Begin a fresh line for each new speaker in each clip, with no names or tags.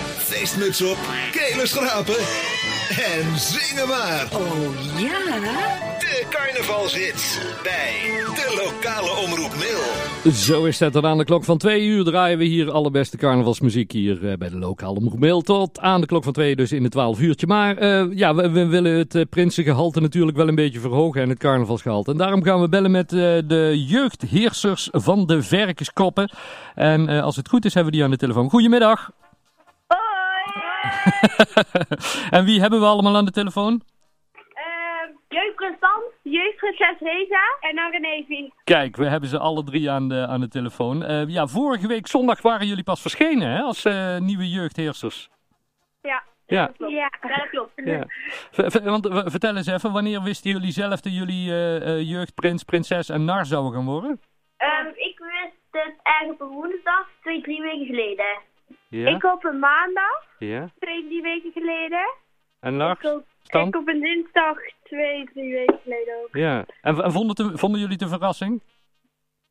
feestmuts op, kelen schrapen en zingen maar.
Oh ja?
De carnavalshits bij de lokale omroep Mil.
Zo is het. En aan de klok van twee uur draaien we hier alle beste carnavalsmuziek hier eh, bij de lokale Moermeel. Tot aan de klok van twee dus in het twaalf uurtje. Maar eh, ja, we, we willen het eh, prinsengehalte natuurlijk wel een beetje verhogen en het carnavalsgehalte. En daarom gaan we bellen met eh, de jeugdheersers van de Verkenskoppen. En eh, als het goed is hebben we die aan de telefoon. Goedemiddag.
Hoi!
En wie hebben we allemaal aan de telefoon?
Ehm jeugdrestant, jeugdprinses Reza en dan René Vien.
Kijk, we hebben ze alle drie aan de, aan de telefoon. Eh, ja, vorige week zondag waren jullie pas verschenen hè, als eh, nieuwe jeugdheersers.
Ja.
Ja.
Ja, dat klopt.
Ja. V- v- want, w- vertel eens even, wanneer wisten jullie zelf dat jullie eh, eh, jeugdprins, prinses en nar zouden gaan worden?
Ehm, ik wist het eigenlijk op een woensdag, twee, drie weken geleden.
Ja.
Ik op een maandag,
ja.
twee, drie weken geleden.
En nar?
Ik op,
Stan?
ik op een dinsdag, twee, drie weken geleden ook.
Ja. En, v- en vonden, het een- vonden jullie het een verrassing?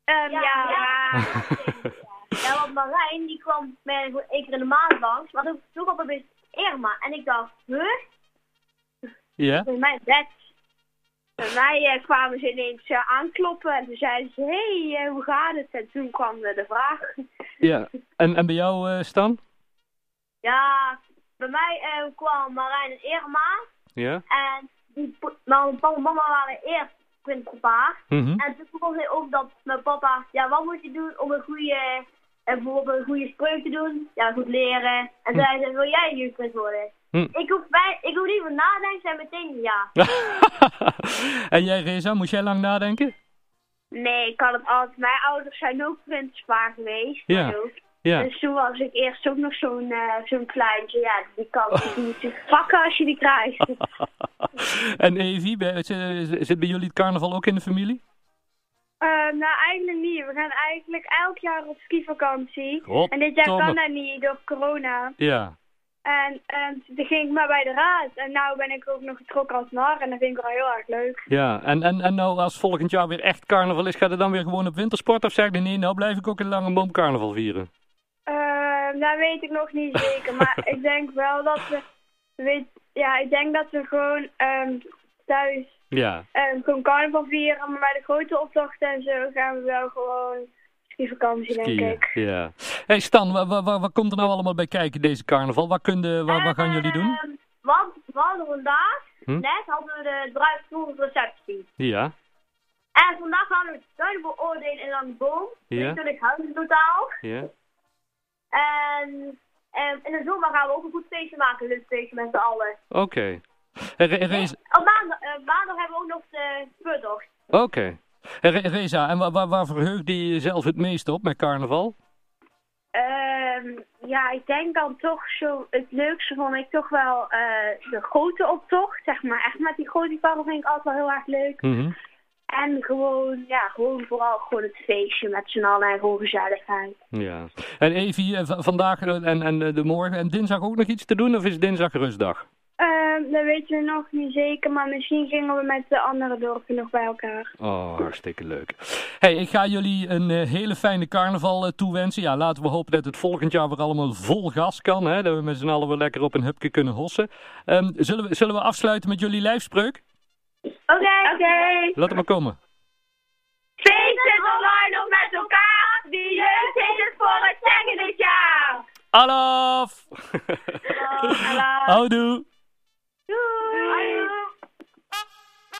Ehm, ja, ja. Ja, want Marijn die kwam met voor één keer in de maand langs, maar toen toen kwam er best Irma. En ik dacht, huh?
Ja.
Bij mij bed. Bij mij eh, kwamen ze ineens eh, aankloppen en toen zeiden ze, hé, hey, eh, hoe gaat het? En toen kwam eh, de vraag.
ja. En, en bij jou, eh, Stan?
Ja, bij mij eh, kwam Marijn en Irma
Ja.
en die, po- nou, papa en mama waren eerst met papa.
Mhm.
En toen vroeg hij ook dat mijn papa, ja, wat moet je doen om een goede, eh, bijvoorbeeld een goede spreuk te doen? Ja, goed leren. En toen zei ze, wil jij jeugdprins worden?
Hm.
Ik, hoef bij, ik hoef niet meer nadenken, zei meteen ja.
en jij, Reza, moest jij lang nadenken?
Nee, ik had het altijd. Mijn ouders zijn ook prinspaar geweest.
Ja.
en ook.
Ja.
Dus toen was ik eerst ook nog zo'n eh, zo'n kleintje. Ja, die kan
Oh.
die moet je pakken als je die krijgt.
en Evi, bij- z- z- zit bij jullie het carnaval ook in de familie?
nou, eigenlijk niet. We gaan eigenlijk elk jaar op skivakantie.
Goddomme.
En dit jaar kan dat niet door corona.
Ja.
En toen ging ik maar bij de raad. En nou ben ik ook nog getrokken als nar. En dat vind ik wel heel erg leuk.
Ja, en, en, en nou als volgend jaar weer echt carnaval is, ga je dan weer gewoon op wintersport? Of zeg je nee, nou blijf ik ook in Lange Boom carnaval vieren?
Ehm, dat weet ik nog niet zeker, maar ik denk wel dat we, weet, ja, ik denk dat we gewoon ehm, thuis
Ja,
ehm, gewoon carnaval vieren, maar bij de grote optochten en zo gaan we wel gewoon skivakantie, denk
skiën.
ik.
Ja. hey Stan, wa- wa- wa- wat, komt er nou allemaal bij kijken deze carnaval? Wat, kun je- wa- wat gaan jullie doen?
Ehm, want we hadden vandaag,
Hm?
net hadden we de bruidsvoerreceptie.
Ja,
En vandaag hadden we het tuin beoordelen in Langboom,
Ja.
20 huizen in totaal.
ja.
En, en in de zomer gaan we ook een goed feestje maken, dus feestje met z'n allen.
Oké. Hey, Re- Reza,
Op maandag, eh, maandag hebben we ook nog de speurtocht.
oké. Hey, Re- Reza, en wa- wa- waar verheugde je jezelf het meest op met carnaval?
Ehm, ja, ik denk dan toch zo. Het leukste vond ik toch wel eh, de grote optocht. Zeg maar echt met die grote karren vind ik altijd wel heel erg leuk.
Mhm.
En gewoon, ja, gewoon vooral gewoon het feestje met z'n allen en gewoon gezelligheid.
Ja. En Evi, eh, v- vandaag eh, en, en eh, de morgen en dinsdag ook nog iets te doen of is dinsdag rustdag?
Ehm, dat weten we nog niet zeker, maar misschien gingen we met de andere dorpen nog bij elkaar.
Oh, hartstikke leuk. Hey, ik ga jullie een eh, hele fijne carnaval eh, toewensen. Ja, laten we hopen dat het volgend jaar weer allemaal vol gas kan. Hè? Dat we met z'n allen weer lekker op een hupje kunnen hossen. Ehm, zullen, we, zullen we afsluiten met jullie lijfspreuk?
Oké, oké.
Laat het maar komen.
Feest het online nog met elkaar. Die jeugd heeft het voor het zeggen dit jaar.
Alaf!
Hallo.
Houdoe!
Doei.